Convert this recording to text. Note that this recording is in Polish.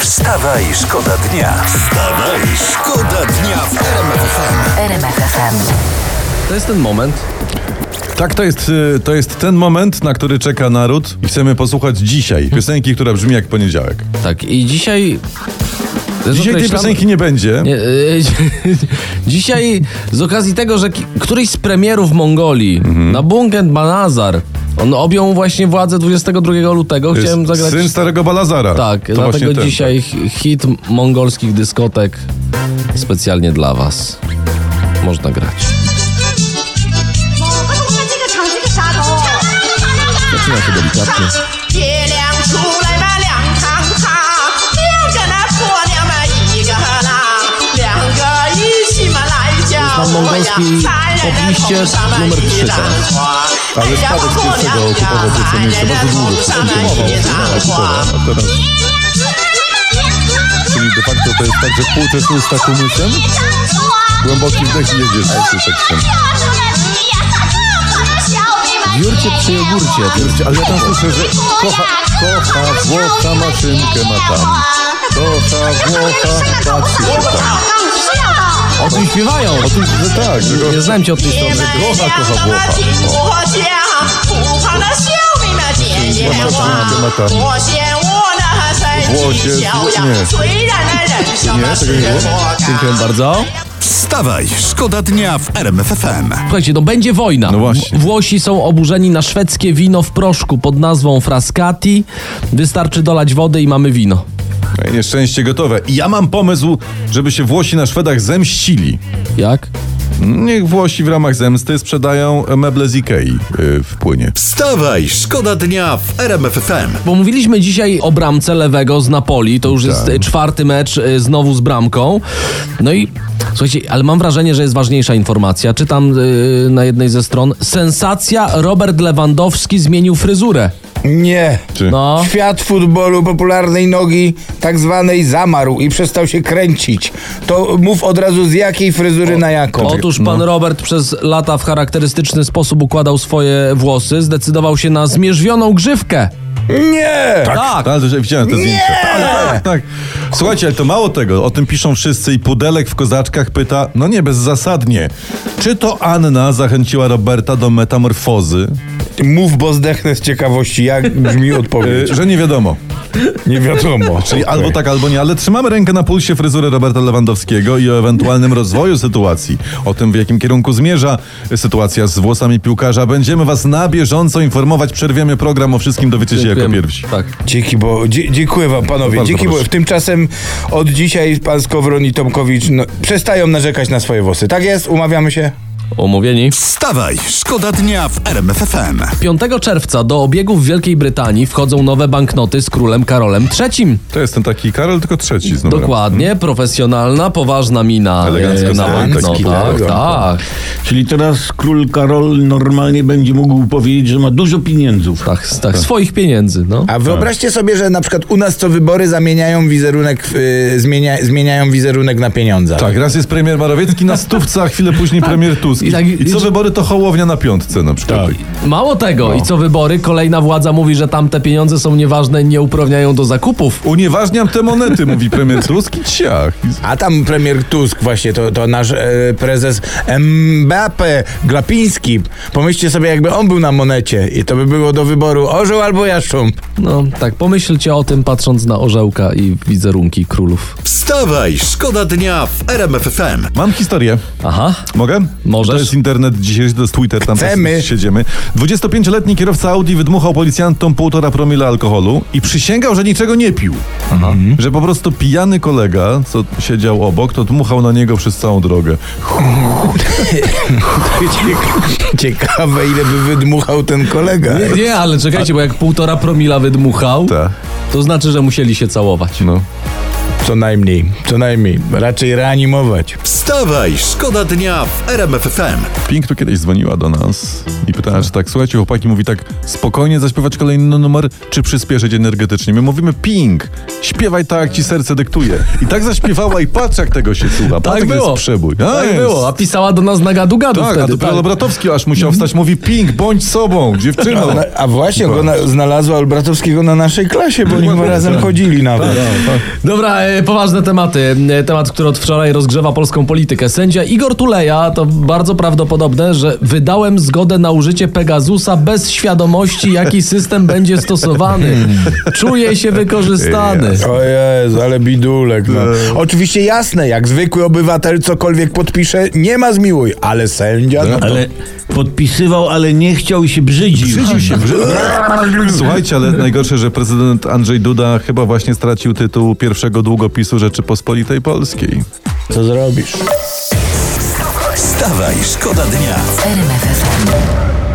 Wstawaj, szkoda dnia. Wstawaj, szkoda dnia w RMFFM. RMF FM. To jest ten moment. Tak, to jest, y, to jest ten moment, na który czeka naród i chcemy posłuchać dzisiaj piosenki, która brzmi jak poniedziałek. Tak, i dzisiaj. Dzisiaj tej Określam- piosenki nie będzie. Nie, y, dzisiaj z okazji tego, że ki- któryś z premierów Mongolii, Mhm. na Bungen Banazar, on objął właśnie władzę 22 lutego. To jest Chciałem zagrać. Syn starego Balazara. tak, to właśnie dlatego ten. dzisiaj hi- hit mongolskich dyskotek specjalnie dla Was. Można grać. 我看这个厂是个啥头？姐俩出来嘛两堂堂，两个那婆娘嘛一个郎，两个一起嘛来叫我呀，三人的头上嘛一张床，哎呀我婆娘呀，三人的头上嘛一张床。 Czyli de facto to jest tak, że pół czasu usta kumysem, głęboki wdech i jedziesz z tym tekstem. Jurcie przy jogurcie. Kurczę, Ale ja tam słyszę, że kocha, kocha Włocha maszynkę ma tam. Kocha Włocha, patrzy się tam. O tym śpiewają. Otóż, że tak, że go... Nie znam cię od tej strony. 我家不怕那小妹们姐姐我，我嫌我那身体小呀，虽然那人生那是个 Dziękuję bardzo. Wstawaj, szkoda dnia w RMFFM. Słuchajcie, no będzie wojna. No właśnie. W- Włosi są oburzeni na szwedzkie wino w proszku pod nazwą Frascati. Wystarczy dolać wody i mamy wino. Ej, Nieszczęście gotowe. I ja mam pomysł, żeby się Włosi na Szwedach zemścili. Jak? Niech Włosi w ramach zemsty sprzedają meble z Ikei y, w płynie. Wstawaj, szkoda dnia w RMFFM. Bo mówiliśmy dzisiaj o bramce lewego z Napoli. To już Tak. jest e, czwarty mecz e, znowu z bramką. No i słuchajcie, ale mam wrażenie, że jest ważniejsza informacja. Czytam e, na jednej ze stron. Sensacja: Robert Lewandowski zmienił fryzurę. Nie. Czy... No. Świat futbolu popularnej nogi tak zwanej zamarł i przestał się kręcić. To mów od razu z jakiej fryzury na jaką. Otóż pan No. Robert przez lata w charakterystyczny sposób układał swoje włosy. Zdecydował się na zmierzwioną grzywkę. Nie! Tak. Ale że widziałem te zdjęcia. Tak, tak, tak. Słuchajcie, ale to mało tego. O tym piszą wszyscy i Pudelek w Kozaczkach pyta, no nie, bezzasadnie. Czy to Anna zachęciła Roberta do metamorfozy? Mów, bo zdechnę z ciekawości, jak brzmi Y, odpowiedź. że nie wiadomo. Nie wiadomo. Czyli albo tak, albo nie, ale trzymamy rękę na pulsie fryzury Roberta Lewandowskiego i o ewentualnym rozwoju sytuacji. O tym, w jakim kierunku zmierza sytuacja z włosami piłkarza. Będziemy was na bieżąco informować. Przerwiemy program o wszystkim, dowiecie się jako Dziękujemy. pierwsi. Tak. Dzięki, bo dzie, dziękuję wam panowie. Bardzo Dzięki, bo proszę. tymczasem od dzisiaj pan Skowron i Tomkowicz no, przestają narzekać na swoje włosy. Tak jest? Umawiamy się? Omówieni. Wstawaj, szkoda dnia w RMFFM. 5 czerwca do obiegu w Wielkiej Brytanii wchodzą nowe banknoty z królem Karolem III. To jest ten taki Karol, tylko trzeci z numerem. Dokładnie, profesjonalna, poważna mina Mhm. Elegancko e, na stoi, taki banknotach. elegancko. Tak, Czyli teraz król Karol normalnie będzie mógł powiedzieć, że ma dużo pieniędzy. tak, tak, swoich pieniędzy, no. A wyobraźcie sobie, że na przykład u nas co wybory zamieniają wizerunek, y, zmienia, zmieniają wizerunek na pieniądze. Tak, raz jest premier Marowiecki na stówce, a chwilę później premier Tusk. I I, tak- co wybory, to Hołownia na piątce na przykład. Mało tego, No. i co wybory, kolejna władza mówi, że tamte pieniądze są nieważne, nie uprawniają do zakupów. Unieważniam te monety, mówi premier Tusk i ciach. I A tam premier Tusk właśnie, to, to nasz e, prezes Mbappe Glapiński. Pomyślcie sobie, jakby on był na monecie i to by było do wyboru orzeł albo jaszcząb. No, tak, pomyślcie o tym, patrząc na orzełka i wizerunki królów. Wstawaj, szkoda dnia w RMFFM. Mam historię. Aha, Mogę? Możesz. To jest internet dzisiejszy, to jest Twitter, tam Chcemy. też siedziemy. 25-letni kierowca Audi wydmuchał policjantom 1,5 promila alkoholu i przysięgał, że niczego nie pił. Że po prostu pijany kolega, co siedział obok, to dmuchał na niego przez całą drogę. Ciek- Ciekawe, ile by wydmuchał ten kolega. Nie, ale czekajcie, bo jak półtora promila wydmuchał, Tak. to znaczy, że musieli się całować. No. Co najmniej, co najmniej. Raczej reanimować. Wstawaj, szkoda dnia w RMF FM. Pink tu kiedyś dzwoniła do nas i pytała, czy tak, słuchajcie, chłopaki, mówi tak, spokojnie zaśpiewać kolejny numer, czy przyspieszyć energetycznie. My mówimy, Pink, śpiewaj tak, jak ci serce dyktuje. I tak zaśpiewała i patrz, jak tego się słucha. Patrz, Tak jak było. Jest przebój. A, Tak jest. było, a pisała do nas na gadu gadu Tak, a wtedy. dopiero Lobratowski aż musiał wstać, mówi, Pink, bądź sobą, dziewczyno. A, No. a właśnie, go na, znalazła Olbratowskiego na naszej klasie, bo oni razem chodzili nawet. Dobra, e, poważne tematy. E, Temat, który od wczoraj rozgrzewa polską politykę. Sędzia Igor Tuleja, to bardzo prawdopodobne, że wydałem zgodę na użycie Pegasusa bez świadomości, jaki system będzie stosowany. Hmm. Czuję się wykorzystany. O Jezu, ale bidulek. No. Oczywiście jasne, jak zwykły obywatel cokolwiek podpisze, nie ma zmiłuj, ale sędzia... No, to... Ale podpisywał, ale nie chciał i się brzydził. Brzydził się, brzydził. Słuchajcie, ale najgorsze, że prezydent Andrzej Duda chyba właśnie stracił tytuł pierwszego długopisu Rzeczypospolitej Polskiej. Co zrobisz? Wstawaj, szkoda dnia. RMFFM.